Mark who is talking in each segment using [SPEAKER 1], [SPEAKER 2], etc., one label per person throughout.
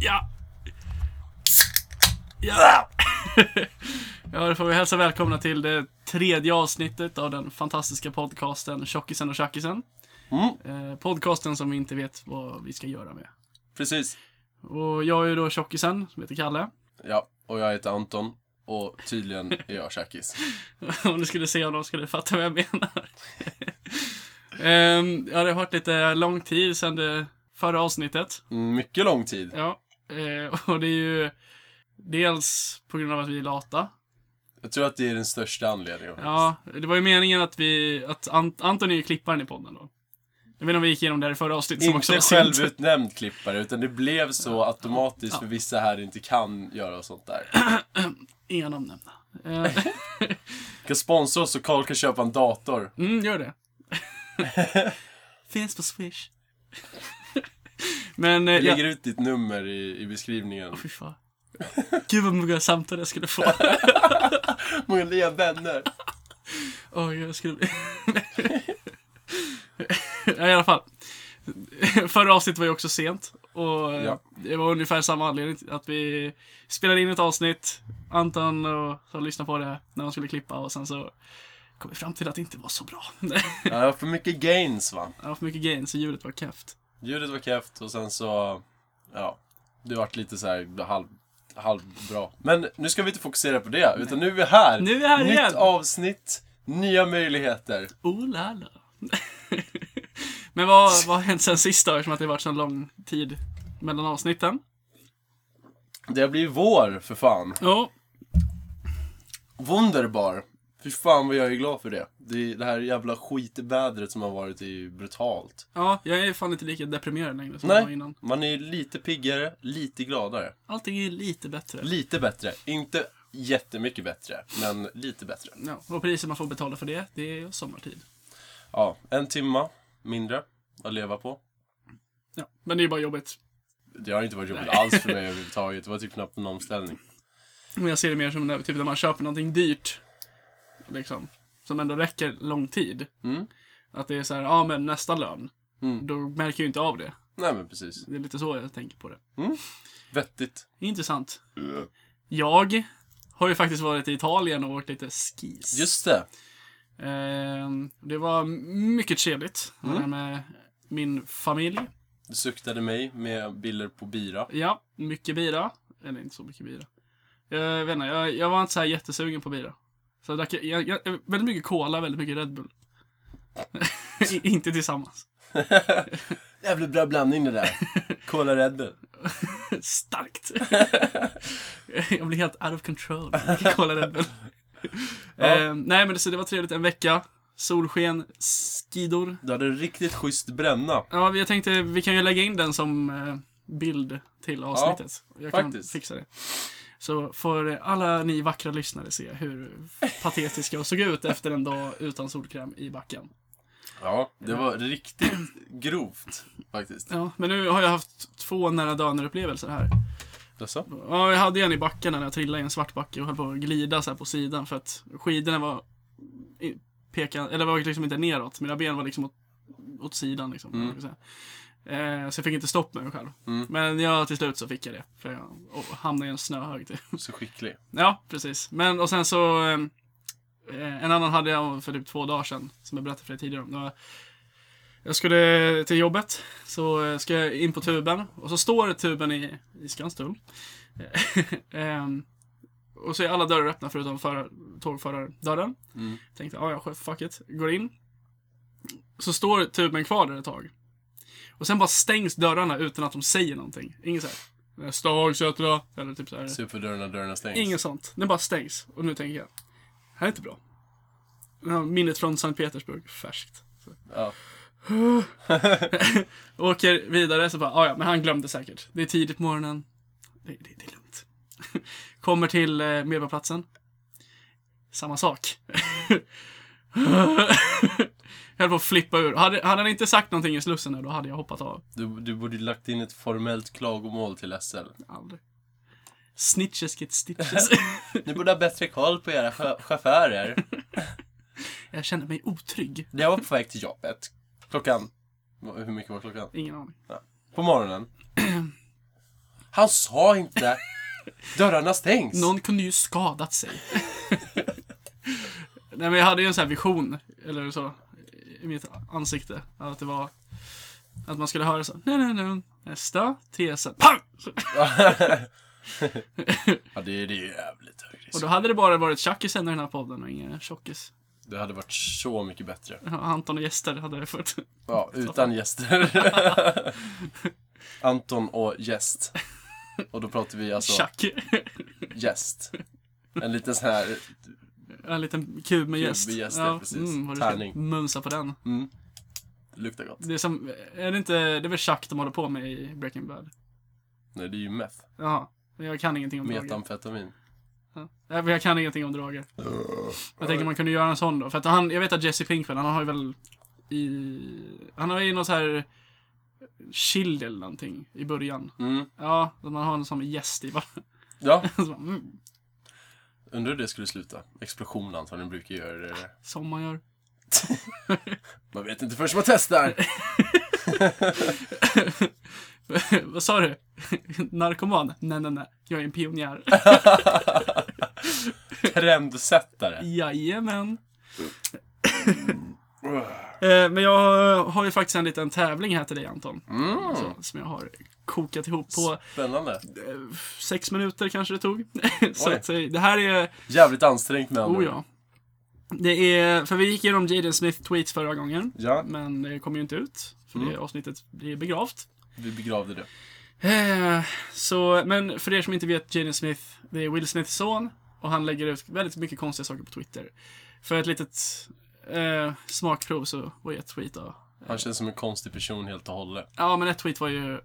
[SPEAKER 1] Ja! Ja! ja, då får vi hälsa välkomna till det tredje avsnittet av den fantastiska podcasten Tjockisen och Tjackisen.
[SPEAKER 2] Mm,
[SPEAKER 1] Eh, podcasten som vi inte vet vad vi ska göra med.
[SPEAKER 2] precis.
[SPEAKER 1] Och jag är ju då Tjockisen, som heter Kalle.
[SPEAKER 2] Ja, och jag heter Anton. Och tydligen är jag tjackis.
[SPEAKER 1] Om du skulle se honom skulle du fatta vad jag menar. Ehm, ja, det har varit lite lång tid sedan det förra avsnittet.
[SPEAKER 2] Mm, Mycket lång tid.
[SPEAKER 1] Ja, eh, och det är ju dels på grund av att vi är lata.
[SPEAKER 2] Jag tror att det är den största anledningen.
[SPEAKER 1] Ja, det var ju meningen att vi, att Ant- Anton är ju klipparen i podden då. Jag vet inte om vi gick igenom det här i förra avsnittet som också
[SPEAKER 2] Inte
[SPEAKER 1] var sent.
[SPEAKER 2] självutnämnd klippare, utan det blev så automatiskt för vissa här inte kan göra sånt där.
[SPEAKER 1] Inga namn nämnda. Eh,
[SPEAKER 2] Kan sponsra oss så Carl kan köpa en dator.
[SPEAKER 1] Mm, gör det. Finns på Swish. Men, eh,
[SPEAKER 2] Jag
[SPEAKER 1] ja.
[SPEAKER 2] lägger ut ditt nummer i, i beskrivningen.
[SPEAKER 1] Fy fan. Gud vad många samtal jag skulle få.
[SPEAKER 2] Många nya vänner.
[SPEAKER 1] Åh, jag skulle bli... ja, i alla fall. Förra avsnittet var ju också sent. Och eh,
[SPEAKER 2] Ja.
[SPEAKER 1] det var ungefär samma anledning till att vi spelade in ett avsnitt. Anton och så lyssnade på det när de skulle klippa och sen så kom vi fram till att det inte var så bra.
[SPEAKER 2] Ja, jag har för mycket gains va.
[SPEAKER 1] det var för mycket gain så ljudet var keft.
[SPEAKER 2] Ljudet var krävt och sen så, ja, det vart lite så här halv, halvbra. Men nu ska vi inte fokusera på det, utan nu är vi här.
[SPEAKER 1] Nu är vi här
[SPEAKER 2] Nytt
[SPEAKER 1] igen.
[SPEAKER 2] avsnitt, nya möjligheter.
[SPEAKER 1] Oh la la. Men vad, vad har hänt sen sist då? Eftersom att det har varit så lång tid mellan avsnitten.
[SPEAKER 2] Det har blivit vår, för fan.
[SPEAKER 1] Ja,
[SPEAKER 2] Wunderbar. Fy fan vad jag är glad för det. Det, det här jävla skitvädret som har varit är ju brutalt.
[SPEAKER 1] ja, jag är fan inte lika deprimerad längre som jag var
[SPEAKER 2] Nej,
[SPEAKER 1] innan.
[SPEAKER 2] man är ju lite piggare, lite gladare.
[SPEAKER 1] Allting är lite bättre.
[SPEAKER 2] Lite bättre. Inte jättemycket bättre, men lite bättre.
[SPEAKER 1] Ja, och priset man får betala för det, det är sommartid.
[SPEAKER 2] Ja, en timma mindre att leva på.
[SPEAKER 1] Ja, men det är ju bara jobbigt.
[SPEAKER 2] Det har inte varit roligt alls för mig överhuvudtaget. Det var typ knappt en omställning.
[SPEAKER 1] Men jag ser det mer som när, typ när man köper någonting dyrt. Liksom. Som ändå räcker lång tid.
[SPEAKER 2] Mm.
[SPEAKER 1] Att det är så här, ja men nästa lön.
[SPEAKER 2] Mm.
[SPEAKER 1] Då märker jag ju inte av det.
[SPEAKER 2] Nej men precis.
[SPEAKER 1] Det är lite så jag tänker på det.
[SPEAKER 2] Vettigt.
[SPEAKER 1] Intressant. Jag har ju faktiskt varit i Italien och varit lite skis.
[SPEAKER 2] Just det.
[SPEAKER 1] Ehm, det var mycket trevligt. att
[SPEAKER 2] Mm.
[SPEAKER 1] vara Med min familj.
[SPEAKER 2] Du suktade mig med bilder på bira.
[SPEAKER 1] Ja, mycket bira. Eller inte så mycket bira. Jag vet inte, jag, jag var inte så här jättesugen på bira. Så jag drack jag, jag, väldigt mycket cola, väldigt mycket Red Bull. I- inte tillsammans.
[SPEAKER 2] Jävligt bra blandning det där. Cola Red Bull.
[SPEAKER 1] Starkt! jag blir helt out of control. Cola Red Bull.
[SPEAKER 2] Ja.
[SPEAKER 1] Ehm, nej, men det, så det var trevligt. En vecka. Solsken, skidor.
[SPEAKER 2] Du hade en riktigt schysst bränna.
[SPEAKER 1] Ja, vi- jag tänkte vi kan ju lägga in den som eh, bild till avsnittet. jag
[SPEAKER 2] faktiskt.
[SPEAKER 1] kan fixa det. Så får eh, alla ni vackra lyssnare se hur patetisk jag såg ut efter en dag utan solkräm i backen.
[SPEAKER 2] Ja, det var riktigt grovt faktiskt.
[SPEAKER 1] Ja, men nu har jag haft två nära döden-upplevelser här.
[SPEAKER 2] Jaså?
[SPEAKER 1] Ja, jag hade en i backen när jag trillade i en svart backe och höll på att glida så här på sidan för att skidorna var i- peka, eller var liksom inte neråt. Mina ben var liksom åt, åt sidan liksom.
[SPEAKER 2] Mm.
[SPEAKER 1] vad man ska säga. Eh, så jag fick inte stopp med mig själv.
[SPEAKER 2] Mm.
[SPEAKER 1] Men ja, till slut så fick jag det. För jag och hamnade i en snöhög. Typ.
[SPEAKER 2] Så skicklig.
[SPEAKER 1] Ja, precis. Men och sen så eh, En annan hade jag för typ två dagar sedan som jag berättade för dig tidigare om. Det var, jag skulle till jobbet, så eh, ska jag in på tuben och så står tuben i, i Skanstull. Ehm, och så är alla dörrar öppna förutom för, tågförardörren.
[SPEAKER 2] Mm.
[SPEAKER 1] Tänkte, "Ah, ja ja, fuck it. Går in. Så står tuben kvar där ett tag. Och sen bara stängs dörrarna utan att de säger någonting. Inget såhär, nästa Hagsätra, eller typ såhär.
[SPEAKER 2] Se upp för dörrarna, dörrarna stängs.
[SPEAKER 1] Inget sånt. Den bara stängs. Och nu tänker jag, det här är inte bra. Den här Minnet från Sankt Petersburg, färskt. Så.
[SPEAKER 2] Ja.
[SPEAKER 1] Åker vidare, så bara, "Ah, ja men han glömde säkert. Det är tidigt på morgonen. Det, det, det är lugnt. Kommer till eh, Medborgarplatsen. Samma sak. jag höll på att flippa ur. Hade, hade han inte sagt någonting i Slussen där, då hade jag hoppat av.
[SPEAKER 2] Du, du borde ju lagt in ett formellt klagomål till SL.
[SPEAKER 1] Aldrig. Snitches get stitches.
[SPEAKER 2] Ni borde ha bättre koll på era chö- chaufförer.
[SPEAKER 1] jag känner mig otrygg.
[SPEAKER 2] När jag var på väg till jobbet, klockan... Hur mycket var klockan?
[SPEAKER 1] Ingen aning.
[SPEAKER 2] På morgonen. Han sa inte dörrarna stängs.
[SPEAKER 1] Någon kunde ju skadat sig. Nej men jag hade ju en sån här vision, eller så, i mitt ansikte. Att det var, att man skulle höra så, nej nej nej, nästa tesen, pang!
[SPEAKER 2] ja, det, är- det är ju jävligt hög
[SPEAKER 1] Och
[SPEAKER 2] risk.
[SPEAKER 1] då hade det bara varit tjackisen i den här podden och ingen tjockis.
[SPEAKER 2] Det hade varit så mycket bättre.
[SPEAKER 1] Anton och gäster hade det fått.
[SPEAKER 2] Ja, utan gäster. Anton och gäst. Och då pratar vi alltså
[SPEAKER 1] Tjack.
[SPEAKER 2] gäst. En liten sån här...
[SPEAKER 1] En liten kub med gäst. mm,
[SPEAKER 2] med gäst, ja, precis.
[SPEAKER 1] vad du ska
[SPEAKER 2] Tärning.
[SPEAKER 1] Mumsa på den.
[SPEAKER 2] Mm, det luktar gott.
[SPEAKER 1] Det är som, är det inte, det är väl tjack de håller på med i Breaking Bad?
[SPEAKER 2] Nej, det är ju meth.
[SPEAKER 1] Jaha. Men jag kan ingenting om droger.
[SPEAKER 2] Metamfetamin.
[SPEAKER 1] Ja. Nej, men Jag kan ingenting om droger. Jag tänker man kunde göra en sån då. För att han, jag vet att Jesse Pinkman, han har ju väl i... Han har ju något så här chill eller någonting i början.
[SPEAKER 2] Mm.
[SPEAKER 1] Ja, att man har en som gäst i bara.
[SPEAKER 2] Ja,
[SPEAKER 1] Så bara, mm,
[SPEAKER 2] undrar hur det skulle sluta. Explosion antagligen brukar göra det.
[SPEAKER 1] som man gör.
[SPEAKER 2] Man vet inte förrän man testar.
[SPEAKER 1] Vad sa du? Narkoman? Nej, nej, nej. Jag är en pionjär.
[SPEAKER 2] Trendsättare.
[SPEAKER 1] Jajamän.
[SPEAKER 2] Mm.
[SPEAKER 1] Eh, men jag har ju faktiskt en liten tävling här till dig Anton.
[SPEAKER 2] Mm.
[SPEAKER 1] Så, som jag har kokat ihop på
[SPEAKER 2] Spännande.
[SPEAKER 1] eh, sex minuter kanske det tog. så
[SPEAKER 2] Oj.
[SPEAKER 1] att, eh, det här är,
[SPEAKER 2] Jävligt ansträngt med andra
[SPEAKER 1] oh
[SPEAKER 2] ord.
[SPEAKER 1] ja. Det är, för vi gick igenom Jaden Smith tweets förra gången.
[SPEAKER 2] ja.
[SPEAKER 1] Men det kom ju inte ut. För
[SPEAKER 2] Mm.
[SPEAKER 1] det avsnittet blir begravt.
[SPEAKER 2] Vi begravde det.
[SPEAKER 1] Eh, Så, men för er som inte vet, Jaden Smith, det är Will Smiths son. Och han lägger ut väldigt mycket konstiga saker på Twitter. För ett litet eh, smakprov så var ju ett tweet då.
[SPEAKER 2] Han känns som en konstig person helt och hållet.
[SPEAKER 1] Ja, men ett tweet var ju, eh,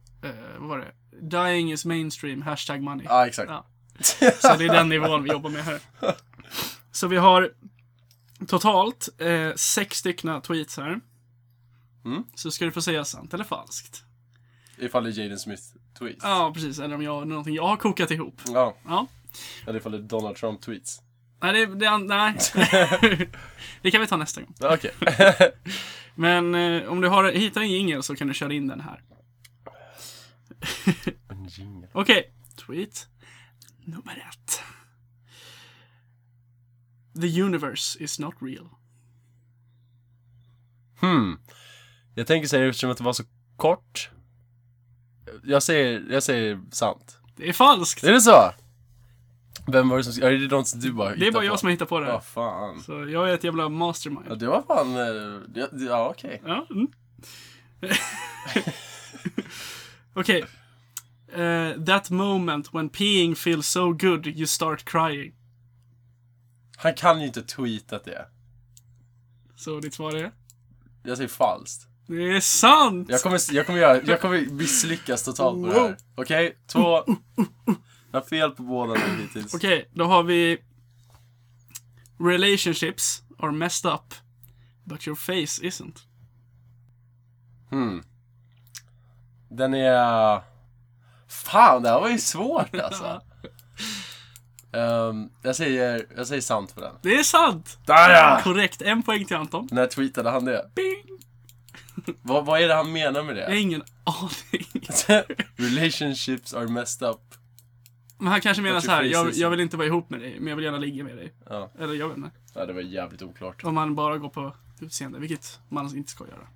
[SPEAKER 1] vad var det? Dying is mainstream, hashtag money.
[SPEAKER 2] Ja, exakt.
[SPEAKER 1] Ja. Så det är den nivån vi jobbar med här. Så vi har totalt eh, sex stycken tweets här.
[SPEAKER 2] Mm.
[SPEAKER 1] Så ska du få säga sant eller falskt.
[SPEAKER 2] Ifall det är Jaden Smith tweets.
[SPEAKER 1] Ja, precis. Eller om jag, någonting jag har kokat ihop.
[SPEAKER 2] Ja.
[SPEAKER 1] Ja.
[SPEAKER 2] Eller ifall det är Donald Trump tweets.
[SPEAKER 1] Nej, det, det, nej. det kan vi ta nästa gång.
[SPEAKER 2] Ja, Okej.
[SPEAKER 1] Men eh, om du har, hittar en jingel så kan du köra in den här.
[SPEAKER 2] En jingle.
[SPEAKER 1] Okej, tweet nummer ett. The universe is not real.
[SPEAKER 2] Hmm. Jag tänker säga eftersom att det var så kort. Jag säger, jag säger sant.
[SPEAKER 1] Det är falskt!
[SPEAKER 2] Är det så? Vem var det som skrev? Ja, det är de som du bara
[SPEAKER 1] Det är bara jag som hittar på det
[SPEAKER 2] Ja,
[SPEAKER 1] här.
[SPEAKER 2] fan.
[SPEAKER 1] Så jag är ett jävla
[SPEAKER 2] Ja,
[SPEAKER 1] mastermind.
[SPEAKER 2] det var fan... eh, det- det- Ja, okej.
[SPEAKER 1] Ja. Mm. Okej. Eh, that moment when peeing feels so good you start crying.
[SPEAKER 2] Han kan ju inte tweetat det.
[SPEAKER 1] Så ditt svar är?
[SPEAKER 2] Jag säger falskt.
[SPEAKER 1] Det är sant!
[SPEAKER 2] Jag kommer, jag kommer, göra, jag kommer misslyckas totalt på det här. Okej, två... Jag har fel på båda nu hittills.
[SPEAKER 1] Okej, då har vi... Relationships are messed up, but your face isn't.
[SPEAKER 2] Hmm. Den är... Fan, det här var ju svårt alltså. Ehm, jag, säger, jag säger sant på den.
[SPEAKER 1] Det är sant!
[SPEAKER 2] Där ja!
[SPEAKER 1] Korrekt, en poäng till Anton.
[SPEAKER 2] När tweetade han det?
[SPEAKER 1] Bing!
[SPEAKER 2] Vad, vad är det han menar med det?
[SPEAKER 1] Jag har ingen aning.
[SPEAKER 2] Relationships are messed up.
[SPEAKER 1] Men han kanske menar
[SPEAKER 2] But
[SPEAKER 1] så
[SPEAKER 2] your
[SPEAKER 1] här,
[SPEAKER 2] face
[SPEAKER 1] jag,
[SPEAKER 2] isn't."
[SPEAKER 1] jag vill inte vara ihop med dig, men jag vill gärna ligga med dig.
[SPEAKER 2] Ja.
[SPEAKER 1] Eller jag vet inte.
[SPEAKER 2] ja, det var jävligt oklart.
[SPEAKER 1] Om man bara går på utseende, vilket man inte ska göra.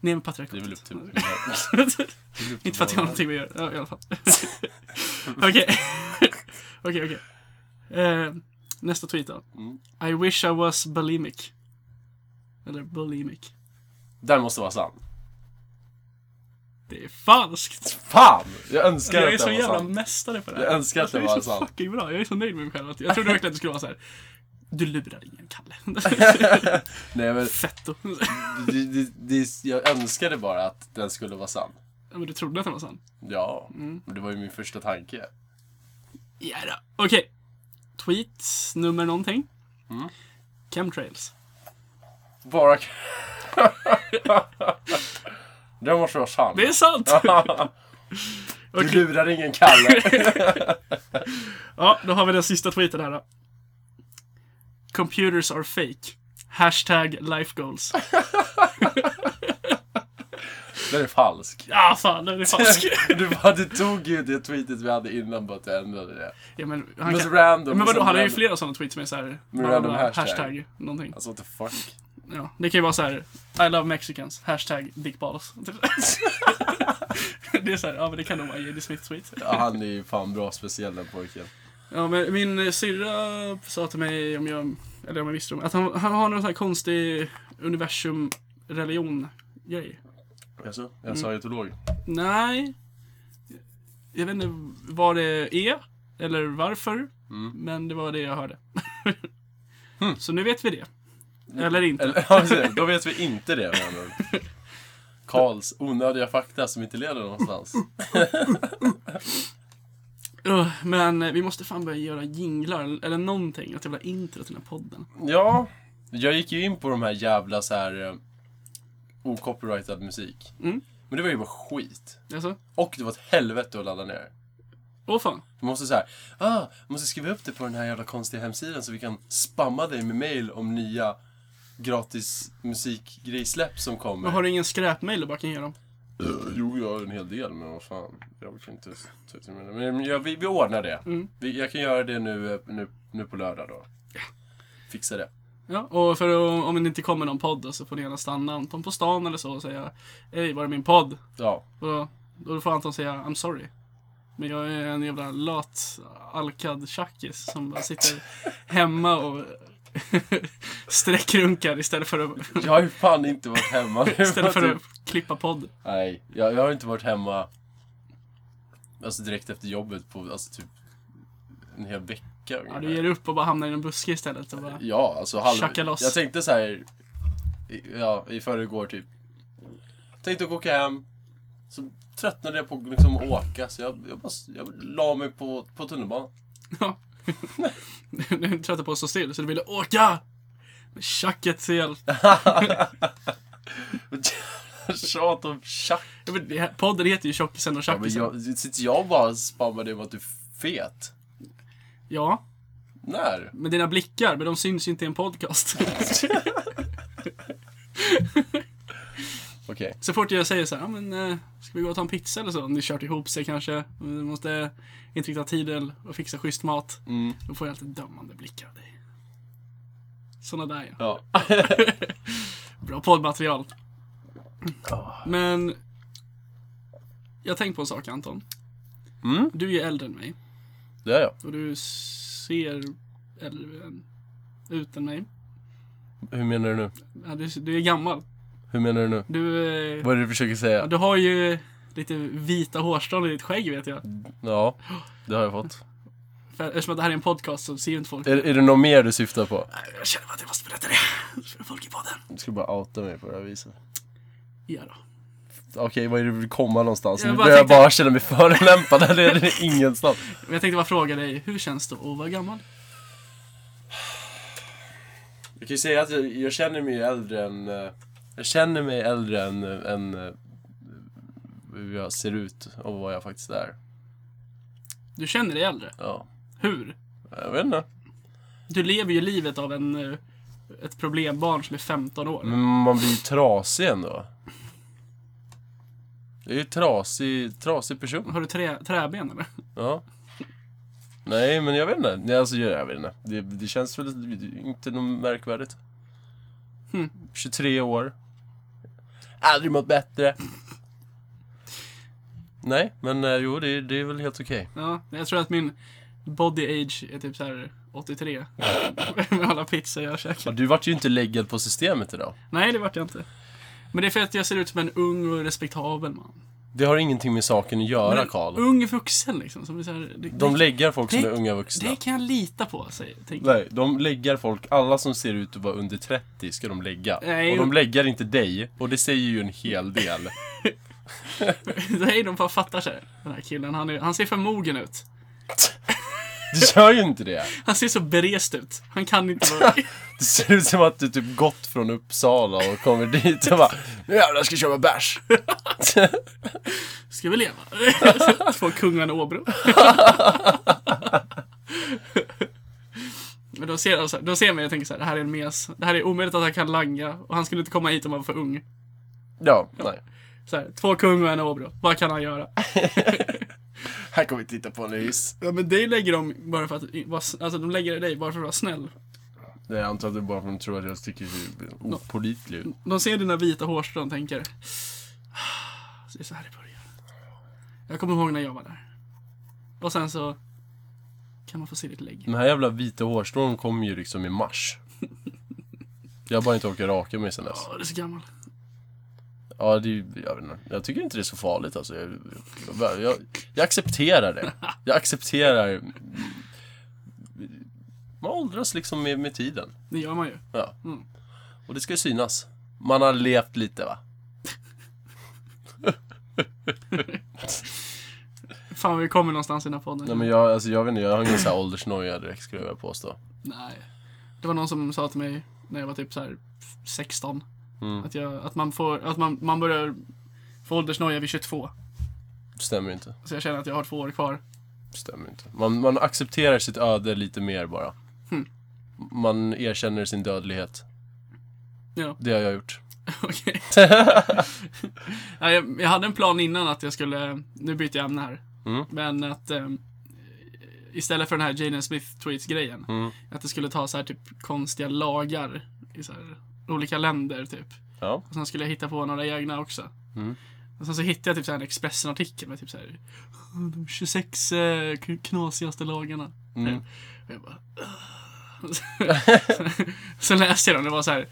[SPEAKER 1] Ner med
[SPEAKER 2] Det är väl upp
[SPEAKER 1] patriarkatet.
[SPEAKER 2] till... det är väl upp till
[SPEAKER 1] inte för att jag har
[SPEAKER 2] var-
[SPEAKER 1] någonting med göra, ja, i alla fall. Okej. Okej, okej. Eh, Nästa tweet då.
[SPEAKER 2] Mm.
[SPEAKER 1] I wish I was bulimic. Eller bulimic.
[SPEAKER 2] Den måste vara sann.
[SPEAKER 1] Det är falskt!
[SPEAKER 2] Fan! Jag önskar
[SPEAKER 1] Jag är
[SPEAKER 2] att
[SPEAKER 1] så
[SPEAKER 2] den var
[SPEAKER 1] jävla
[SPEAKER 2] sann.
[SPEAKER 1] mästare på det här.
[SPEAKER 2] Jag önskar att det
[SPEAKER 1] Alltså, Det är så
[SPEAKER 2] var sant.
[SPEAKER 1] fucking bra. Jag är så nöjd med mig själv. att- Jag trodde verkligen att det skulle vara så här. Du lurar ingen, Kalle.
[SPEAKER 2] Nej men,
[SPEAKER 1] Fetto.
[SPEAKER 2] det, det, det, jag önskade bara att den skulle vara sann.
[SPEAKER 1] Ja, Men du trodde att den var sann?
[SPEAKER 2] Ja,
[SPEAKER 1] Mm.
[SPEAKER 2] men det var ju min första tanke.
[SPEAKER 1] Ja då. Okej. Tweet nummer någonting.
[SPEAKER 2] Mm.
[SPEAKER 1] Chemtrails.
[SPEAKER 2] Bara... den måste vara sann.
[SPEAKER 1] Det är sant!
[SPEAKER 2] Du
[SPEAKER 1] Okej.
[SPEAKER 2] lurar ingen Kalle.
[SPEAKER 1] Ja, då har vi den sista tweeten här då. Computers are fake. Hashtag life goals.
[SPEAKER 2] Den är falsk.
[SPEAKER 1] Ja, fan, den är falsk.
[SPEAKER 2] Du, bara, du tog ju det tweetet vi hade innan bara att du ändrade det.
[SPEAKER 1] ja, men han
[SPEAKER 2] Men
[SPEAKER 1] kan...
[SPEAKER 2] så random.
[SPEAKER 1] Men
[SPEAKER 2] och
[SPEAKER 1] vadå,
[SPEAKER 2] sen
[SPEAKER 1] han har ju
[SPEAKER 2] random.
[SPEAKER 1] flera sådana tweets med såhär...
[SPEAKER 2] Med random hashtag.
[SPEAKER 1] hashtag. Någonting.
[SPEAKER 2] Alltså what the fuck.
[SPEAKER 1] Ja, det kan ju vara så här: I love Mexicans, hashtag dickballs. det är såhär, ja men det kan nog vara J.D. Smith tweet.
[SPEAKER 2] Ja, han är ju fan bra speciell den pojken.
[SPEAKER 1] Ja men min eh, syrra sa till mig, om jag, eller om jag visste om att han, han har någon sån här konstig universum-religion-grej.
[SPEAKER 2] Jaså? Jag
[SPEAKER 1] Mm.
[SPEAKER 2] sa etolog.
[SPEAKER 1] Nej. Jag vet inte vad det är, eller varför. Men det var det jag hörde. Så nu vet vi det. Eller inte.
[SPEAKER 2] Eller, ja, precis. då vet vi inte det med andra ord. Karls onödiga fakta som inte leder någonstans.
[SPEAKER 1] Ugh, men eh, vi måste fan börja göra jinglar eller någonting. Ett jävla intro till den här podden.
[SPEAKER 2] Ja, jag gick ju in på de här jävla så här eh, ocopyrightad musik.
[SPEAKER 1] Mm.
[SPEAKER 2] Men det var ju bara skit.
[SPEAKER 1] Alltså,
[SPEAKER 2] Och det var ett helvete att ladda ner.
[SPEAKER 1] åh fan.
[SPEAKER 2] Du måste så här, ah, jag måste skriva upp det på den här jävla konstiga hemsidan så vi kan spamma dig med mail om nya gratis musikgrejsläpp som kommer.
[SPEAKER 1] Men har du ingen skräpmail du bara kan ge dem?
[SPEAKER 2] Eh, Jo, jag har en hel del, men vad fan. Jag kan inte ta till mig det. Men jag, vi, vi ordnar det.
[SPEAKER 1] Mm.
[SPEAKER 2] Vi, jag kan göra det nu, eh, nu, nu på lördag då. Fixa det.
[SPEAKER 1] Ja, och för att, om det inte kommer någon podd då, så får ni gärna stanna Anton på stan eller så och säga Hej, var är min podd?
[SPEAKER 2] Ja,
[SPEAKER 1] Och då, då får Anton säga I'm sorry. Men jag är en jävla lat, alkad tjackis som bara sitter hemma och sträckrunkar istället för att,
[SPEAKER 2] jag har ju fan inte varit hemma nu.
[SPEAKER 1] istället för att
[SPEAKER 2] typ-
[SPEAKER 1] klippa podd.
[SPEAKER 2] Nej, jag, jag har inte varit hemma alltså direkt efter jobbet på alltså typ en hel vecka
[SPEAKER 1] Ja,
[SPEAKER 2] ungefär.
[SPEAKER 1] du ger upp och bara hamnar i en buske istället. Och bara,
[SPEAKER 2] Ja, alltså halv...
[SPEAKER 1] Tjacka loss.
[SPEAKER 2] Jag tänkte så här, i- ja, i förrgår typ. Tänkte att åka hem. Så tröttnade jag på att liksom åka, så jag, jag bara jag la mig på, på tunnelbanan.
[SPEAKER 1] Ja. Du är trött på att stå still, så du ville åka! Men tjacket ser jag.
[SPEAKER 2] Jävla Tjat om tjack.
[SPEAKER 1] Ja, men det här- Podden heter ju Tjockisen och
[SPEAKER 2] Ja, men
[SPEAKER 1] tjackisen. Ja,
[SPEAKER 2] jag, sitter jag bara och spammar dig om att du är fet? När?
[SPEAKER 1] men dina blickar, men de syns inte i en podcast.
[SPEAKER 2] Okej.
[SPEAKER 1] så fort jag säger så här, ja men eh, ska vi gå och ta en pizza eller så? Om ni kört ihop sig kanske, vi måste inte riktigt ha tid eller- och fixa schysst mat.
[SPEAKER 2] Mm.
[SPEAKER 1] Då får jag alltid dömande blickar av dig. Såna där ja.
[SPEAKER 2] Ja.
[SPEAKER 1] Bra poddmaterial. Men... Jag har tänkt på en sak Anton.
[SPEAKER 2] Mm.
[SPEAKER 1] Du är ju äldre än mig.
[SPEAKER 2] Det är jag.
[SPEAKER 1] Och du ser äldre än, ut än mig.
[SPEAKER 2] Hur menar du nu?
[SPEAKER 1] Ja, du, du är gammal.
[SPEAKER 2] Hur menar du nu?
[SPEAKER 1] Du, eh,
[SPEAKER 2] Vad är det du försöker
[SPEAKER 1] ja,
[SPEAKER 2] säga?
[SPEAKER 1] du har ju lite vita hårstrån i ditt skägg vet jag.
[SPEAKER 2] Ja, det har jag fått.
[SPEAKER 1] För, eftersom att det här är en podcast så ser ju inte folk.
[SPEAKER 2] Är, är det något mer du syftar på?
[SPEAKER 1] Nej, Jag känner bara att jag måste berätta det. För folk i podden.
[SPEAKER 2] Du ska bara outa mig på det här viset.
[SPEAKER 1] Ja då.
[SPEAKER 2] Okej, vad är det du vill komma någonstans?
[SPEAKER 1] Jag
[SPEAKER 2] nu
[SPEAKER 1] bara
[SPEAKER 2] börjar
[SPEAKER 1] tänkte-
[SPEAKER 2] jag bara känna mig förolämpad. Det är ingenstans.
[SPEAKER 1] Men jag tänkte bara fråga dig, hur känns det att vara gammal?
[SPEAKER 2] Jag kan ju säga att jag, jag känner mig ju äldre än... eh, Jag känner mig äldre än, eh, än eh, hur jag ser ut och vad jag faktiskt är.
[SPEAKER 1] Du känner dig äldre.
[SPEAKER 2] Ja.
[SPEAKER 1] Hur?
[SPEAKER 2] Jag vet inte.
[SPEAKER 1] Du lever ju livet av en, eh, ett problembarn som är 15 år.
[SPEAKER 2] Men man blir ju trasig ändå. Det är ju trasig, trasig person.
[SPEAKER 1] Har du trä, träben eller?
[SPEAKER 2] Ja. Nej, men jag vet inte. Nej, alltså, jag jag vet inte. Det, det känns väl inte något märkvärdigt.
[SPEAKER 1] Hmm.
[SPEAKER 2] 23 år. Aldrig mått bättre. Nej, men eh, jo, det, det är väl helt okej.
[SPEAKER 1] Ja, men jag tror att min body age är typ så här 83. Med alla pizzor jag käkar.
[SPEAKER 2] Ja, Du vart ju inte läggad på systemet idag.
[SPEAKER 1] Nej, det vart jag inte. Men det är för att jag ser ut som en ung och respektabel man.
[SPEAKER 2] Det har ingenting med saken att göra,
[SPEAKER 1] Men
[SPEAKER 2] Karl.
[SPEAKER 1] Ung vuxen liksom. Som är så här, det,
[SPEAKER 2] De
[SPEAKER 1] det,
[SPEAKER 2] läggar folk som
[SPEAKER 1] det-
[SPEAKER 2] är unga vuxna.
[SPEAKER 1] det kan jag lita på, säger tänker jag.
[SPEAKER 2] Nej, de läggar folk. Alla som ser ut att vara under 30 ska de lägga.
[SPEAKER 1] Nej,
[SPEAKER 2] och de
[SPEAKER 1] och-
[SPEAKER 2] läggar inte dig. Och det säger ju en hel del.
[SPEAKER 1] Nej, de bara fattar så här. Den här killen, han, är, han ser för mogen ut.
[SPEAKER 2] Du gör ju inte det.
[SPEAKER 1] Han ser så berest ut. Han kan inte vara...
[SPEAKER 2] Det ser ut som att du typ gått från Uppsala och kommer dit och bara Nu jävlar ska jag köpa bärs!
[SPEAKER 1] Ska vi leva? Två kungarna i Åbro. Men då ser, jag så här, då ser jag mig och tänker så här, det här är en mes. Det här är omöjligt att han kan langa och han skulle inte komma hit om han var för ung.
[SPEAKER 2] Ja, nej.
[SPEAKER 1] Så här, två kung och en åbro. Vad kan han göra?
[SPEAKER 2] Här kommer vi titta på en is.
[SPEAKER 1] Ja, men dig lägger de bara för att vara s- Alltså de lägger dig bara för att vara snäll.
[SPEAKER 2] Nej, jag antar att det är bara för att de tror att jag tycker det är opålitlig ut.
[SPEAKER 1] De ser dina vita hårstrån och tänker... "Ah, Det är så här det börjar. Jag kommer ihåg när jag var där. Och sen så... Kan man få se ditt lägg.
[SPEAKER 2] Den här jävla vita hårstrån kom ju liksom i mars. Jag har bara inte orkat raka mig sen dess.
[SPEAKER 1] Åh, du är så gammal.
[SPEAKER 2] Ja, det är ju- jag vet inte. Jag tycker inte det är så farligt alltså. Jag, jag, jag, jag accepterar det. Jag accepterar... Man åldras liksom med, med tiden.
[SPEAKER 1] Det gör man ju.
[SPEAKER 2] Ja.
[SPEAKER 1] Mm.
[SPEAKER 2] Och det ska ju synas. Man har levt lite va?
[SPEAKER 1] Fan, vi kommer någonstans i den här podden.
[SPEAKER 2] Nej men jag, alltså, jag vet inte, jag har ingen så här åldersnoja direkt skulle jag vilja påstå.
[SPEAKER 1] Nej. Det var någon som sa till mig när jag var typ så här 16.
[SPEAKER 2] Mm.
[SPEAKER 1] Att, jag, att, man, får, att man, man börjar få åldersnoja vid 22.
[SPEAKER 2] Stämmer inte.
[SPEAKER 1] Så jag känner att jag har två år kvar.
[SPEAKER 2] Stämmer inte. Man, man accepterar sitt öde lite mer bara. Hm.
[SPEAKER 1] Hmm.
[SPEAKER 2] Man erkänner sin dödlighet.
[SPEAKER 1] Ja.
[SPEAKER 2] Det har jag gjort.
[SPEAKER 1] Okej. Nej, jag, jag hade en plan innan att jag skulle, nu byter jag ämne här.
[SPEAKER 2] Mm.
[SPEAKER 1] Men att ehm, istället för den här Jaden Smith tweets-grejen.
[SPEAKER 2] Mm.
[SPEAKER 1] Att det skulle ta så här typ konstiga lagar i så här olika länder typ.
[SPEAKER 2] Ja.
[SPEAKER 1] Och sen skulle jag hitta på några egna också.
[SPEAKER 2] Mm.
[SPEAKER 1] Och sen så hittade jag typ så här en Expressen-artikel med typ så här de 26 eh, k- knasigaste lagarna.
[SPEAKER 2] Mm.
[SPEAKER 1] Och jag bara... så läste jag den, det var så här.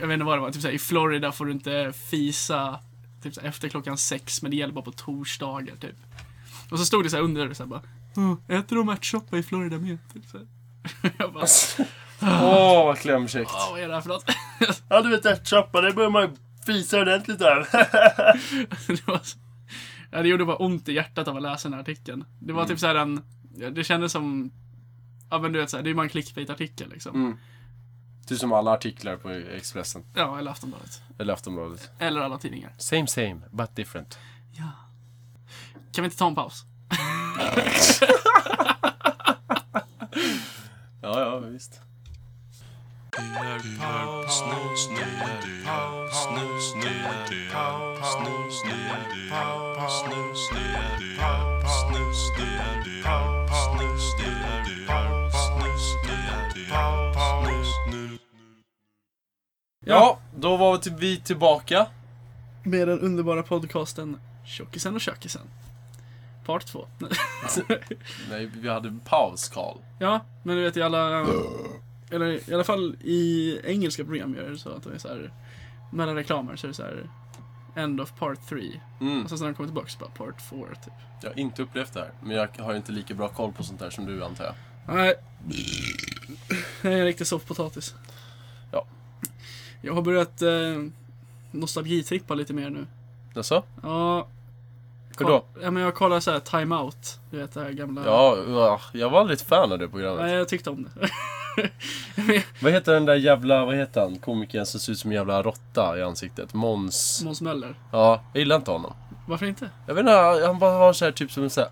[SPEAKER 1] Jag vet inte vad det var, typ så här, i Florida får du inte fisa typ så här, efter klockan sex, men det gäller bara på torsdagar typ. Och så stod det så här under, så här, bara, "Åh, äter de ärtsoppa i Florida med? Typ, så här. jag
[SPEAKER 2] Alltså.
[SPEAKER 1] bara,
[SPEAKER 2] Åh, vad klämkäckt.
[SPEAKER 1] "Åh, vad är det här för något?
[SPEAKER 2] Ja, du vet ärtsoppa, det börjar man fisa ordentligt av.
[SPEAKER 1] det, var så... ja, det gjorde bara ont i hjärtat av att läsa den här artikeln. Det var typ så här en, ja, det kändes som, ja men du vet så här, det är ju bara en clickbait-artikel liksom.
[SPEAKER 2] Mm. Typ som alla artiklar på Expressen,
[SPEAKER 1] Ja, eller Aftonbladet.
[SPEAKER 2] eller Aftonbladet.
[SPEAKER 1] Eller alla tidningar.
[SPEAKER 2] Same same, but different.
[SPEAKER 1] Ja. Kan vi inte ta en paus?
[SPEAKER 2] Ja, ja, visst. Ja, då var vi till- vi tillbaka.
[SPEAKER 1] Med den underbara podcasten Tjockisen och Tjökisen. Part två.
[SPEAKER 2] Nej, vi hade en paus, Karl.
[SPEAKER 1] ja, men du vet i alla... Eller i alla fall i engelska program gör det så att det är så här... Mellan reklamer så är det så här... End of part three.
[SPEAKER 2] Mm.
[SPEAKER 1] Och sen så när de kommer tillbaka så bara part four typ.
[SPEAKER 2] Jag har inte upplevt det här, men jag har inte lika bra koll på sånt här som du, antar jag.
[SPEAKER 1] Nej. Jag är en riktig soffpotatis.
[SPEAKER 2] Ja.
[SPEAKER 1] Jag har börjat eh, nostalgitrippa lite mer nu.
[SPEAKER 2] Jaså?
[SPEAKER 1] Ja,
[SPEAKER 2] Hur då?
[SPEAKER 1] Ja, men jag kollar så här Time Out. Du vet det här gamla.
[SPEAKER 2] Ja, ja, jag var aldrig ett fan av det programmet.
[SPEAKER 1] Nej, jag tyckte om det.
[SPEAKER 2] Vad heter den där jävla, vad heter han, komikern som ser ut som en jävla råtta i ansiktet? Måns.
[SPEAKER 1] Måns Möller.
[SPEAKER 2] Ja, jag gillar inte honom.
[SPEAKER 1] Varför inte?
[SPEAKER 2] Jag vet inte, han han bara har så här typ som en så här,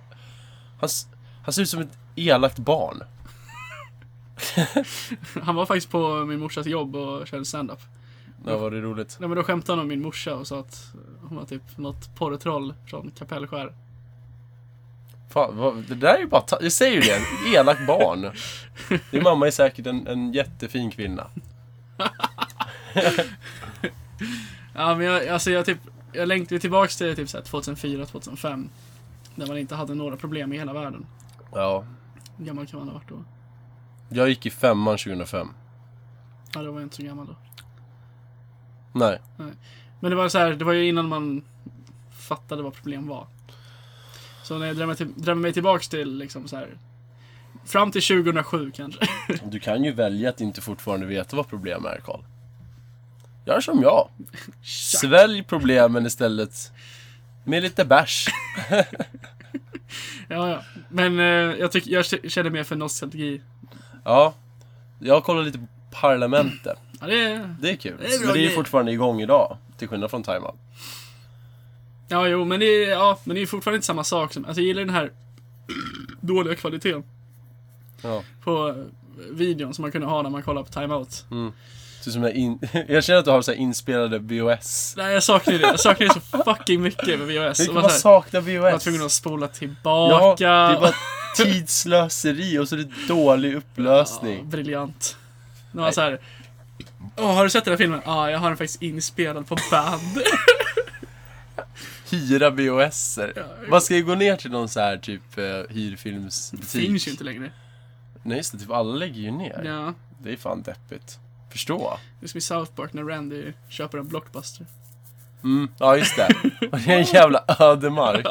[SPEAKER 2] han, s- han ser ut som ett elakt barn.
[SPEAKER 1] Han var faktiskt på min morsas jobb och körde stand-up.
[SPEAKER 2] Ja, var det roligt?
[SPEAKER 1] Nej, men då skämtade han om min morsa och sa att hon var typ något porrtroll från Kapellskär.
[SPEAKER 2] Fan, vad, det där är ju bara, ta- jag säger ju det, elakt barn. Din mamma är säkert en, en jättefin kvinna.
[SPEAKER 1] Ja, men jag, alltså jag typ, jag längtade ju tillbaks till typ så här 2004, 2005. När man inte hade några problem i hela världen.
[SPEAKER 2] Ja.
[SPEAKER 1] Hur gammal kan man ha varit då?
[SPEAKER 2] Jag gick i femman 2005.
[SPEAKER 1] Ja, då var jag inte så gammal då.
[SPEAKER 2] Nej.
[SPEAKER 1] Men det var så här, det var ju innan man fattade vad problem var. Så när jag drömmer, till, drömmer mig tillbaks till liksom så här. Fram till 2007 kanske.
[SPEAKER 2] Du kan ju välja att inte fortfarande veta vad problem är, Karl. Gör som jag. Svälj problemen istället. Med lite bärs.
[SPEAKER 1] ja, ja. Men eh, jag, tycker, jag k- känner mer för nostalgi.
[SPEAKER 2] Ja. Jag kollar lite på Parlamentet.
[SPEAKER 1] Ja, det är...
[SPEAKER 2] Det är kul.
[SPEAKER 1] Det är bra
[SPEAKER 2] men det är ju
[SPEAKER 1] grej.
[SPEAKER 2] fortfarande igång idag. Till skillnad från Time Out.
[SPEAKER 1] Ja, jo, men det är, ja, men det är fortfarande inte samma sak som... Alltså jag gillar den här dåliga kvaliteten
[SPEAKER 2] Ja.
[SPEAKER 1] på eh, videon som man kunde ha när man kollade på timeout.
[SPEAKER 2] Mm. Så som jag, in, jag känner att du har så här inspelade BOS.
[SPEAKER 1] Nej, jag saknar ju det. Jag saknar ju så fucking mycket med VHS.
[SPEAKER 2] Hur
[SPEAKER 1] Och
[SPEAKER 2] kan
[SPEAKER 1] bara så
[SPEAKER 2] man
[SPEAKER 1] här,
[SPEAKER 2] sakna
[SPEAKER 1] Man var
[SPEAKER 2] BOS?
[SPEAKER 1] tvungen att spola
[SPEAKER 2] Ja,
[SPEAKER 1] tillbaka.
[SPEAKER 2] det är bara tidslöseri och så är det dålig
[SPEAKER 1] Ja,
[SPEAKER 2] upplösning.
[SPEAKER 1] briljant. Nu var
[SPEAKER 2] Nej.
[SPEAKER 1] så här. Åh, har du sett den här filmen? Ja, jag har den faktiskt inspelad på band.
[SPEAKER 2] Hyra BOSer.
[SPEAKER 1] Ja.
[SPEAKER 2] Man ska ju gå ner till någon så här typ eh,
[SPEAKER 1] Det finns ju
[SPEAKER 2] hyrfilmsbutik.
[SPEAKER 1] inte längre.
[SPEAKER 2] Nej just det, typ alla lägger ju ner.
[SPEAKER 1] Ja.
[SPEAKER 2] Det är fan deppigt. Förstå.
[SPEAKER 1] Det är som i South Park när Randy köper en blockbuster.
[SPEAKER 2] Mm, ja just det. Och det är en jävla ödemark.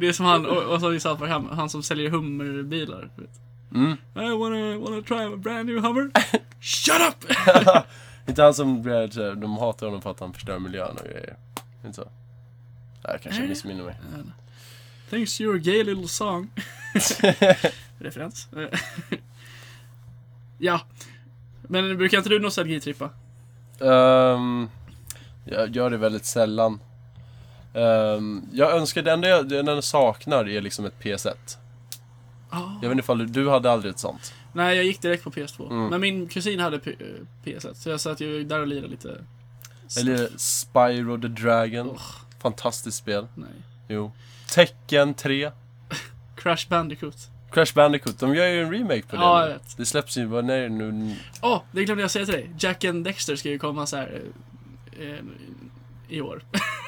[SPEAKER 1] det är som han, och, och så i South Park, han, han som säljer Hummerbilar. du vet.
[SPEAKER 2] Mm.
[SPEAKER 1] I wanna, wanna try a brand new Hummer. Shut up!
[SPEAKER 2] Inte han som blir så här, de hatar honom för att han förstör miljön och grejer. Inte så? Nej, kanske jag missminner mig.
[SPEAKER 1] Thanks to your gay little song. Referens. ja. Men brukar inte du nostalgitrippa?
[SPEAKER 2] Ehm, jag gör det väldigt sällan. Ehm, jag önskar, det enda jag, det enda jag saknar är liksom ett PS1.
[SPEAKER 1] Ja.
[SPEAKER 2] Jag vet inte ifall du, du hade aldrig ett sånt.
[SPEAKER 1] Nej, jag gick direkt på PS2.
[SPEAKER 2] Mm.
[SPEAKER 1] Men min kusin hade P- eh, PS1, så jag satt ju där och lirade lite.
[SPEAKER 2] Eller Spyro the Dragon.
[SPEAKER 1] Åh.
[SPEAKER 2] Fantastiskt spel.
[SPEAKER 1] Nej.
[SPEAKER 2] Jo. Tecken 3.
[SPEAKER 1] Crash Bandicoot.
[SPEAKER 2] Crash Bandicoot, de gör ju en remake på det
[SPEAKER 1] Ja,
[SPEAKER 2] nu.
[SPEAKER 1] jag vet.
[SPEAKER 2] Det släpps ju, vad är det nu?
[SPEAKER 1] Åh, det glömde jag säga till dig. Jack and Dexter ska ju komma så här eh, eh, i år.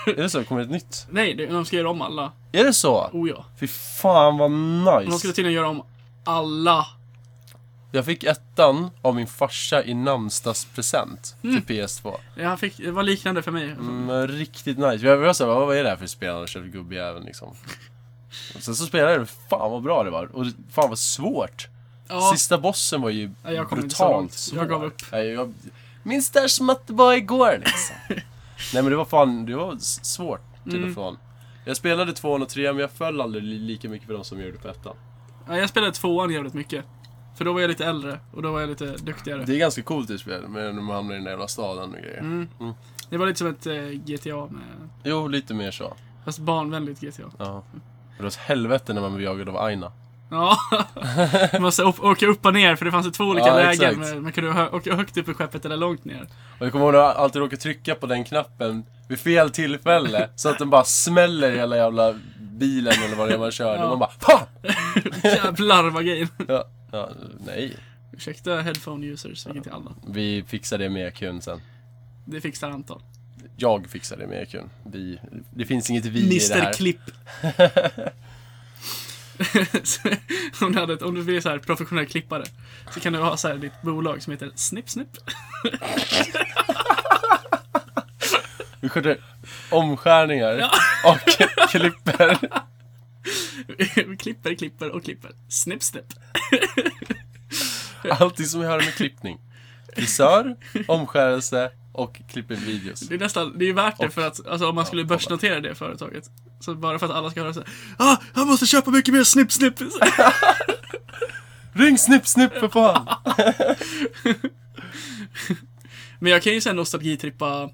[SPEAKER 2] Är det så? Kommer det ett nytt?
[SPEAKER 1] Nej, det- de ska göra om alla.
[SPEAKER 2] Är det så?
[SPEAKER 1] Oh ja.
[SPEAKER 2] Fy fan vad
[SPEAKER 1] De skulle
[SPEAKER 2] nice!
[SPEAKER 1] tydligen göra om alla.
[SPEAKER 2] Jag fick ettan av min farsa i namnsdagspresent till
[SPEAKER 1] Mm.
[SPEAKER 2] PS2.
[SPEAKER 1] Ja, han fick, det var liknande för mig.
[SPEAKER 2] Mm, riktigt nice. Jag var såhär, vad vad är det här för spel? Och körde gubbjäveln liksom. Och sen så spelade jag det, fan vad bra det var. Och det- fan vad svårt.
[SPEAKER 1] Ja,
[SPEAKER 2] Sista bossen var ju
[SPEAKER 1] Nej, jag kom inte så
[SPEAKER 2] brutalt
[SPEAKER 1] långt. Jag gav upp.
[SPEAKER 2] Nej, jag minns det här som att det var igår liksom. Nej men det var fan, det var s- svårt typ, till
[SPEAKER 1] Mm.
[SPEAKER 2] och från. Jag spelade tvåan och trean men jag föll aldrig li- lika mycket för de som gjorde på ettan.
[SPEAKER 1] ja, jag spelade tvåan jävligt mycket. För då var jag lite äldre och då var jag lite duktigare.
[SPEAKER 2] Det är ganska coolt i spel, men när man hamnar i den där jävla staden och grejer.
[SPEAKER 1] Mm.
[SPEAKER 2] Mm.
[SPEAKER 1] Det var lite som ett eh, GTA med...
[SPEAKER 2] Jo, lite mer så.
[SPEAKER 1] Fast barnvänligt GTA.
[SPEAKER 2] Ja. Det var ett helvete när man blev jagad av Aina.
[SPEAKER 1] Ja, man måste upp, åka upp och ner för det fanns ju två olika
[SPEAKER 2] Ja,
[SPEAKER 1] lägen.
[SPEAKER 2] exakt.
[SPEAKER 1] Man, man kunde hö- åka högt upp i skeppet eller långt ner.
[SPEAKER 2] Och jag kommer ihåg att jag alltid råkade trycka på den knappen vid fel tillfälle. så att den bara smäller i hela jävla bilen eller vad det är man kör.
[SPEAKER 1] Ja.
[SPEAKER 2] Och man bara FAN!
[SPEAKER 1] Jävlar vad grejen.
[SPEAKER 2] Ja, ja, nej.
[SPEAKER 1] Ursäkta headphone users, vilket är alla.
[SPEAKER 2] Vi fixar det med EQn sen.
[SPEAKER 1] Det fixar Anton.
[SPEAKER 2] Jag fixar det med EQn. Vi, det finns inget vi i det
[SPEAKER 1] Mr
[SPEAKER 2] här.
[SPEAKER 1] Klipp. Så, om, du hade ett, om du blir så här professionell klippare så kan du ha så här ditt bolag som heter Snipp Snipp.
[SPEAKER 2] Vi sköter omskärningar och klipper.
[SPEAKER 1] Vi klipper, klipper och klipper. Snipp Snipp.
[SPEAKER 2] Allting som vi har med klippning. Frisör, omskärelse och klipper videos.
[SPEAKER 1] Det är nästan, det är ju värt det
[SPEAKER 2] Och-
[SPEAKER 1] för att, alltså om man skulle
[SPEAKER 2] ja,
[SPEAKER 1] börsnotera det företaget. Så bara för att alla ska höra såhär, ah, han måste köpa mycket mer Snipp Snipp.
[SPEAKER 2] Ring Snipp Snipp för fan!
[SPEAKER 1] Men jag kan ju sen nostalgitrippa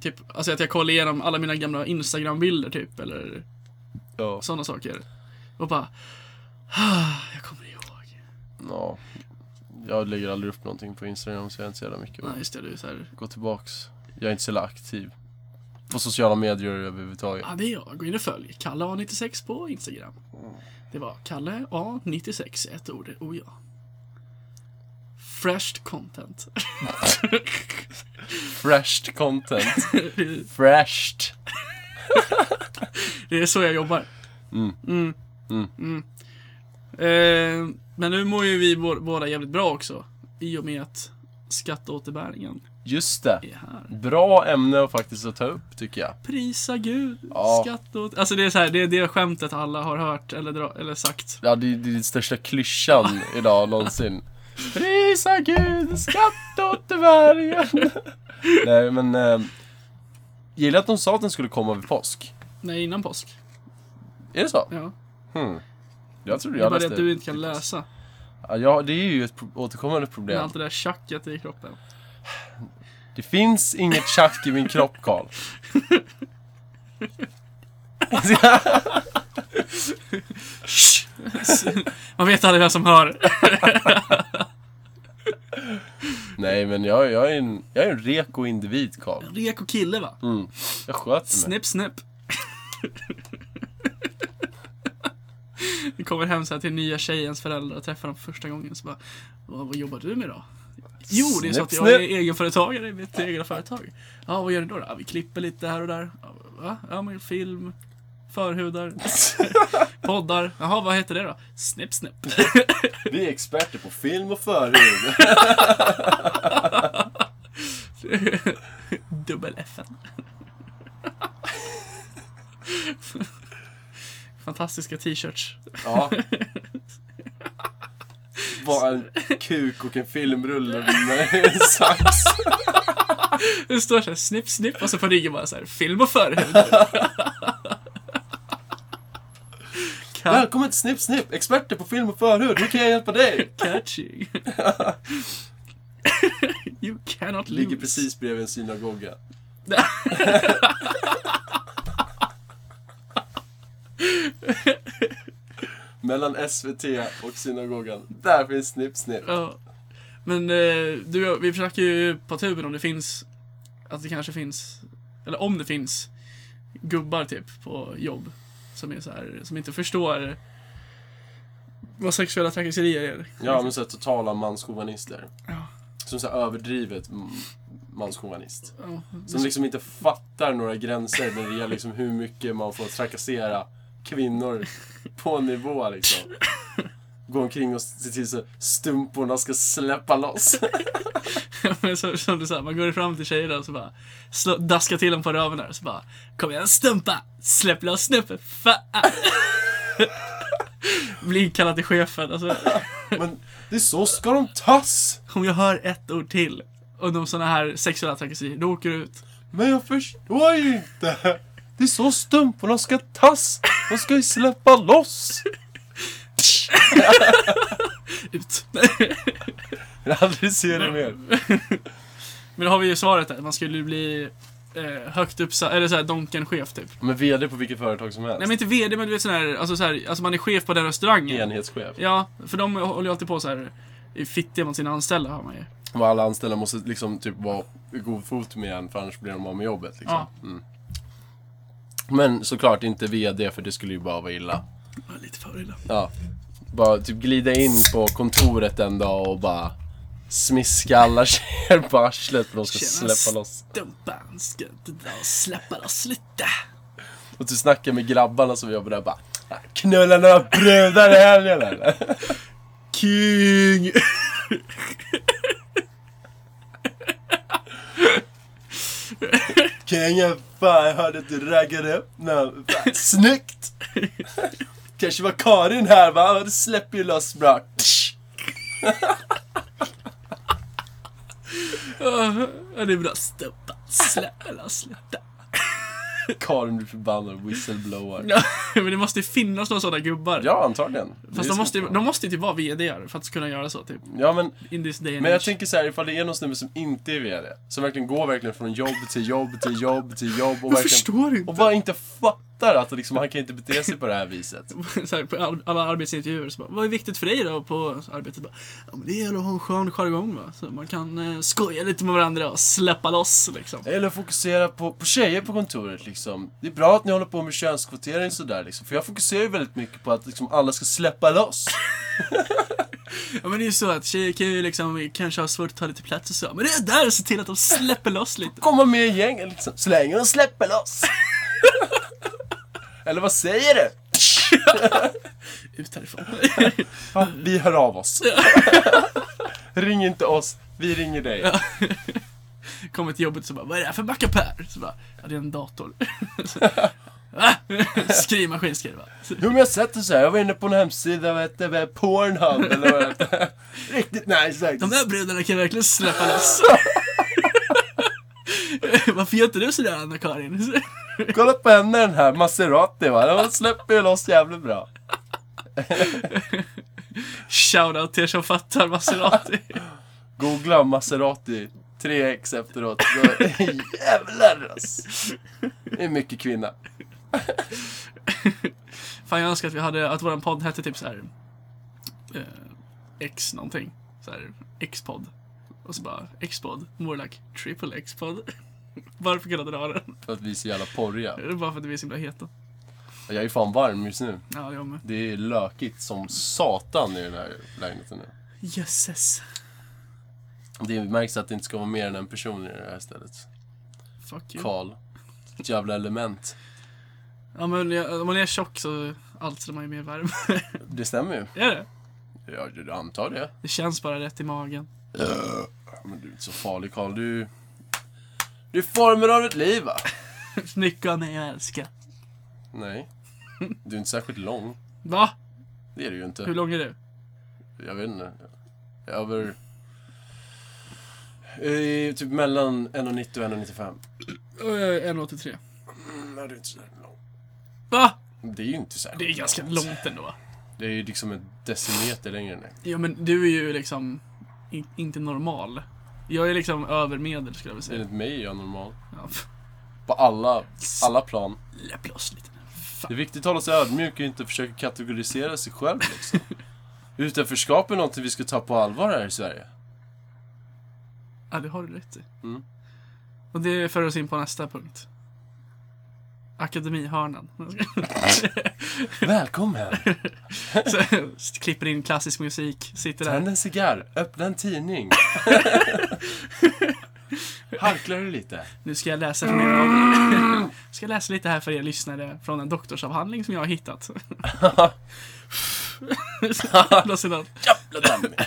[SPEAKER 1] Typ, alltså att jag kollar igenom alla mina gamla Instagram-bilder typ, eller
[SPEAKER 2] Ja.
[SPEAKER 1] sådana saker. Och bara, ah, jag kommer ihåg.
[SPEAKER 2] ja. Jag lägger aldrig upp någonting på Instagram så jag har inte så jävla mycket
[SPEAKER 1] Nej,
[SPEAKER 2] att
[SPEAKER 1] just det, du är såhär,
[SPEAKER 2] gå tillbaks. Jag är inte så jävla aktiv. På sociala medier överhuvudtaget.
[SPEAKER 1] ah, det är jag, gå in och följ. Kalle A96 på Instagram. Det var Kalle A96, ett ord, oh ja. Fresh content.
[SPEAKER 2] Freshed content. Freshed.
[SPEAKER 1] det är så jag jobbar.
[SPEAKER 2] Mm.
[SPEAKER 1] Mm.
[SPEAKER 2] Mm.
[SPEAKER 1] Mm. Eh, men nu mår ju vi bå- båda jävligt bra också. I och med att skatteåterbäringen
[SPEAKER 2] Just det.
[SPEAKER 1] är här.
[SPEAKER 2] Bra ämne att faktiskt att ta upp tycker jag.
[SPEAKER 1] Prisa Gud,
[SPEAKER 2] Ja.
[SPEAKER 1] skatt åt... Alltså det är så här, det är det skämtet alla har hört eller, dra, eller sagt.
[SPEAKER 2] Ja, det är det är den största klyschan idag någonsin. Prisa Gud, skatt åt världen. Nej, men... Eh, gillar att de sa att den skulle komma vid påsk.
[SPEAKER 1] Nej, innan påsk.
[SPEAKER 2] Är det så?
[SPEAKER 1] Ja.
[SPEAKER 2] Hmm. Jag trodde
[SPEAKER 1] Det är
[SPEAKER 2] jag
[SPEAKER 1] bara det
[SPEAKER 2] läste
[SPEAKER 1] att du inte kan läsa.
[SPEAKER 2] Ja, Ja, det är ju ett pro- återkommande
[SPEAKER 1] Med
[SPEAKER 2] problem.
[SPEAKER 1] allt det där tjacket i kroppen.
[SPEAKER 2] Det finns inget tjack i min kropp, Karl.
[SPEAKER 1] Man vet aldrig vem som hör.
[SPEAKER 2] Nej, men jag, jag, är, en, jag är en reko individ, Karl.
[SPEAKER 1] Reko kille va?
[SPEAKER 2] Mm. Jag sköter mig.
[SPEAKER 1] Snipp, snipp. Vi kommer hem så här till nya tjejens föräldrar och träffar dem för första gången. Så bara, vad, vad jobbar du med då? Jo, det är så
[SPEAKER 2] Snipp,
[SPEAKER 1] att jag är
[SPEAKER 2] snipp.
[SPEAKER 1] egenföretagare i mitt egna företag. Ja, vad gör ni då? då? Ja, vi klipper lite här och där. Ja, Va? Ja, men film, förhudar, poddar. Jaha, vad heter det då? Snipp, snipp.
[SPEAKER 2] Vi är experter på film och förhud.
[SPEAKER 1] Dubbel FN. Fantastiska t-shirts.
[SPEAKER 2] ja. Bara en kuk och en filmrulle med en sax.
[SPEAKER 1] Det står såhär snipp, snipp och så på ryggen bara såhär film och förhud. Ka-
[SPEAKER 2] Välkommen till Snipp Snipp, experter på film och förhud. Hur kan jag hjälpa dig?
[SPEAKER 1] catchy. you cannot lose.
[SPEAKER 2] Ligger precis bredvid en synagoga. Mellan SVT och synagogan, där finns Snipp Snipp.
[SPEAKER 1] Ja. Men eh, du, vi försöker ju på tuben om det finns, att det kanske finns, eller om det finns, gubbar typ på jobb. Som är så här, som inte förstår vad sexuella trakasserier är.
[SPEAKER 2] Ja, men så här totala manschauvinister.
[SPEAKER 1] Ja.
[SPEAKER 2] Som så här överdrivet m- manschauvinist.
[SPEAKER 1] Ja.
[SPEAKER 2] Som liksom inte fattar några gränser när det gäller liksom hur mycket man får trakassera kvinnor på en nivå liksom. Gå omkring och se till så stumporna ska släppa loss.
[SPEAKER 1] Men så, som du sa, man går fram till tjejerna och så bara slå, daskar till dem på röven där och så bara Kom igen stumpa! Släpp loss snuppen! Fan! Blir inkallad till chefen. Alltså,
[SPEAKER 2] Men det är så ska de tas!
[SPEAKER 1] om jag hör ett ord till och de såna här sexuella trakasserier, då åker du ut.
[SPEAKER 2] Men jag förstår ju inte! Det är så stumporna ska tas! De ska ju släppa loss!
[SPEAKER 1] Ut.
[SPEAKER 2] Jag vill aldrig se det mer.
[SPEAKER 1] Men då har vi ju svaret där, man skulle bli eh, högt uppsatt, eller såhär Donken-chef typ.
[SPEAKER 2] Men VD på vilket företag som helst.
[SPEAKER 1] Nej men inte VD, men du vet sån här, alltså, så här, alltså man är chef på den restaurangen.
[SPEAKER 2] Enhetschef.
[SPEAKER 1] Ja, för de håller ju alltid på så här är fittiga mot sina anställda har man ju.
[SPEAKER 2] Och alla anställda måste liksom typ vara i god fot med en för annars blir de av med jobbet. Liksom.
[SPEAKER 1] Ja.
[SPEAKER 2] Mm. Men såklart inte VD för det skulle ju bara vara illa.
[SPEAKER 1] Det var Lite för illa.
[SPEAKER 2] Ja. Bara typ glida in på kontoret en dag och bara smiska alla tjejer på arslet för de ska
[SPEAKER 1] Tjena,
[SPEAKER 2] släppa loss.
[SPEAKER 1] Stumpan ska inte dra och släppa loss lite.
[SPEAKER 2] Och du snackar med grabbarna som jobbar där bara Knulla några brudar i helgen eller?
[SPEAKER 1] King!
[SPEAKER 2] Kan jag fan, jag hörde att du raggade upp någon. Fan, Snyggt! Kanske var Karin här va? Ja, Det släpper ju loss bra.
[SPEAKER 1] Ja, det är bra. Stumpan, släppa loss lite.
[SPEAKER 2] Karin blir förbannad och whistleblower.
[SPEAKER 1] Ja, men det måste ju finnas några sådana gubbar.
[SPEAKER 2] Ja, antagligen. Det är
[SPEAKER 1] Fast de måste, ju-
[SPEAKER 2] svårt.
[SPEAKER 1] de måste ju typ vara VDar för att kunna göra så typ.
[SPEAKER 2] Ja, men,
[SPEAKER 1] In this day and
[SPEAKER 2] men jag
[SPEAKER 1] age.
[SPEAKER 2] tänker så här, ifall det är någon snubbe som inte är VD, som verkligen går verkligen från jobb till jobb till jobb till jobb
[SPEAKER 1] Jag
[SPEAKER 2] och verkligen...
[SPEAKER 1] förstår inte.
[SPEAKER 2] Och bara inte fattar att liksom, han kan inte bete sig på det här viset.
[SPEAKER 1] så här, på all- alla arbetsintervjuer så bara, vad är viktigt för dig då på arbetet? Bara, ja, men det gäller att ha en skön jargong va. Så man kan eh, skoja lite med varandra och släppa loss liksom.
[SPEAKER 2] Eller fokusera på, på tjejer på kontoret liksom. Det är bra att ni håller på med könskvotering sådär liksom. För jag fokuserar ju väldigt mycket på att liksom alla ska släppa loss.
[SPEAKER 1] Ja men det är ju så att tjejer kan ju liksom kanske ha svårt att ta lite plats och så. Men det är där att se till att de släpper loss lite.
[SPEAKER 2] Komma med i gängen liksom. Så länge de släpper loss. Eller vad säger du?
[SPEAKER 1] Ut härifrån.
[SPEAKER 2] Ja, vi hör av oss. Ring inte oss, vi ringer dig.
[SPEAKER 1] Kommer till jobbet så bara, vad är det här för mackapär? Så bara, ja det är en dator. Så, "Va?" Skrivmaskin skriver va? Så,
[SPEAKER 2] Jo men jag har sett det så här. jag var inne på en hemsida, vad hette det, Pornhub eller vad hette det? Riktigt nice
[SPEAKER 1] De
[SPEAKER 2] faktiskt.
[SPEAKER 1] där brudarna kan verkligen släppa loss. Varför gör inte du sådär Anna-Karin?
[SPEAKER 2] Kolla på henne den här Maserati va, den släpper ju loss jävligt bra.
[SPEAKER 1] Shoutout till er som fattar Maserati.
[SPEAKER 2] Googla Maserati 3X efteråt. Då, jävlar alltså. Det är mycket kvinna.
[SPEAKER 1] Fan jag önskar att vi hade, att våran podd hette typ så här. Eh, X någonting. Så här, X-podd. Och Och så bara X-pod, more like triple X-pod. Varför kunde jag dra den?
[SPEAKER 2] För att vi är så jävla porriga.
[SPEAKER 1] Det är bara för att vi är så himla heta.
[SPEAKER 2] Jag är fan varm just nu.
[SPEAKER 1] Ja, jag med.
[SPEAKER 2] Det är lökigt som satan i den här lägenheten nu.
[SPEAKER 1] Jösses.
[SPEAKER 2] Det märks att det inte ska vara mer än en person i det här stället.
[SPEAKER 1] Fuck you.
[SPEAKER 2] Karl. Ett jävla element.
[SPEAKER 1] Ja, men jag, om man är tjock så alstrar man ju mer värme.
[SPEAKER 2] Det stämmer ju.
[SPEAKER 1] är det?
[SPEAKER 2] Jag, jag antar det.
[SPEAKER 1] Det känns bara rätt i magen.
[SPEAKER 2] Men du är inte så farlig Karl. Du... Du är formen av ditt liv va?
[SPEAKER 1] Snycka mig jag älskar.
[SPEAKER 2] Nej. Du är inte särskilt lång.
[SPEAKER 1] Va?
[SPEAKER 2] Det är du ju
[SPEAKER 1] Hur
[SPEAKER 2] inte.
[SPEAKER 1] lång är du?
[SPEAKER 2] Jag vet inte. Över... Eh, Typ mellan 1,90 och 1,95.
[SPEAKER 1] 1,83.
[SPEAKER 2] Mm, Nej, du är inte så lång.
[SPEAKER 1] Va?
[SPEAKER 2] Det är ju inte särskilt
[SPEAKER 1] Det är ganska långt ändå.
[SPEAKER 2] Det är ju liksom en decimeter längre ner.
[SPEAKER 1] Ja, men du är ju liksom in, inte normal. Jag är liksom över medel skulle jag vilja säga.
[SPEAKER 2] Enligt mig är jag normal.
[SPEAKER 1] Ja, pff,
[SPEAKER 2] På alla, alla plan.
[SPEAKER 1] läpp loss lite nu.
[SPEAKER 2] Det
[SPEAKER 1] Fan.
[SPEAKER 2] är viktigt att hålla sig ödmjuk och inte försöka kategorisera sig själv liksom. Utanförskap är något vi ska ta på allvar här i Sverige.
[SPEAKER 1] Ja, det har du rätt i.
[SPEAKER 2] Mm.
[SPEAKER 1] Och det för oss in på nästa punkt. Akademihörnan.
[SPEAKER 2] Välkommen!
[SPEAKER 1] Så, Klipper in klassisk musik, sitter där.
[SPEAKER 2] Tänd en cigarr, öppna en tidning. Harklar du lite?
[SPEAKER 1] Nu ska jag läsa för
[SPEAKER 2] Mm.
[SPEAKER 1] er. ska jag läsa lite här för er lyssnare från en doktorsavhandling som jag har hittat. Å sidan,
[SPEAKER 2] Jävla dammig.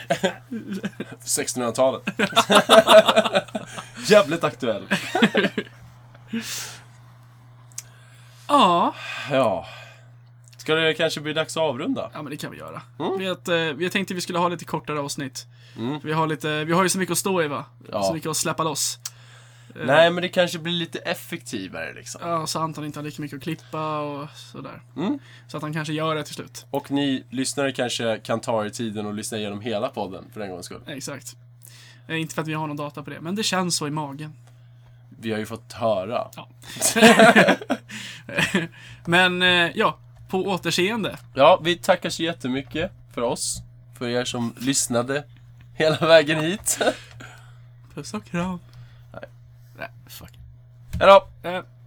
[SPEAKER 2] 1600-talet. Jävligt aktuell.
[SPEAKER 1] Ja,
[SPEAKER 2] Ja. Ska det kanske bli dags att avrunda?
[SPEAKER 1] ja men det kan vi göra.
[SPEAKER 2] Mm.
[SPEAKER 1] Vi, att, eh, vi tänkte vi skulle ha lite kortare avsnitt. Vi, har lite, vi har ju så mycket att stå i va?
[SPEAKER 2] Ja.
[SPEAKER 1] Så mycket att släppa loss.
[SPEAKER 2] Nej, men det kanske blir lite effektivare liksom.
[SPEAKER 1] Ja, så Anton inte har lika mycket att klippa och sådär.
[SPEAKER 2] Mm.
[SPEAKER 1] Så att han kanske gör det till slut.
[SPEAKER 2] Och ni lyssnare kanske kan ta er tiden och lyssna igenom hela podden för en gångs skull.
[SPEAKER 1] Exakt. Eh, Inte för att vi har någon data på det, men det känns så i magen.
[SPEAKER 2] Vi har ju fått höra.
[SPEAKER 1] Ja. men eh, ja, på återseende.
[SPEAKER 2] Ja, vi tackar så jättemycket för oss. För er som lyssnade hela vägen hit.
[SPEAKER 1] Puss och kram. Nej. Nej, fuck.
[SPEAKER 2] Hej då!
[SPEAKER 1] Eh.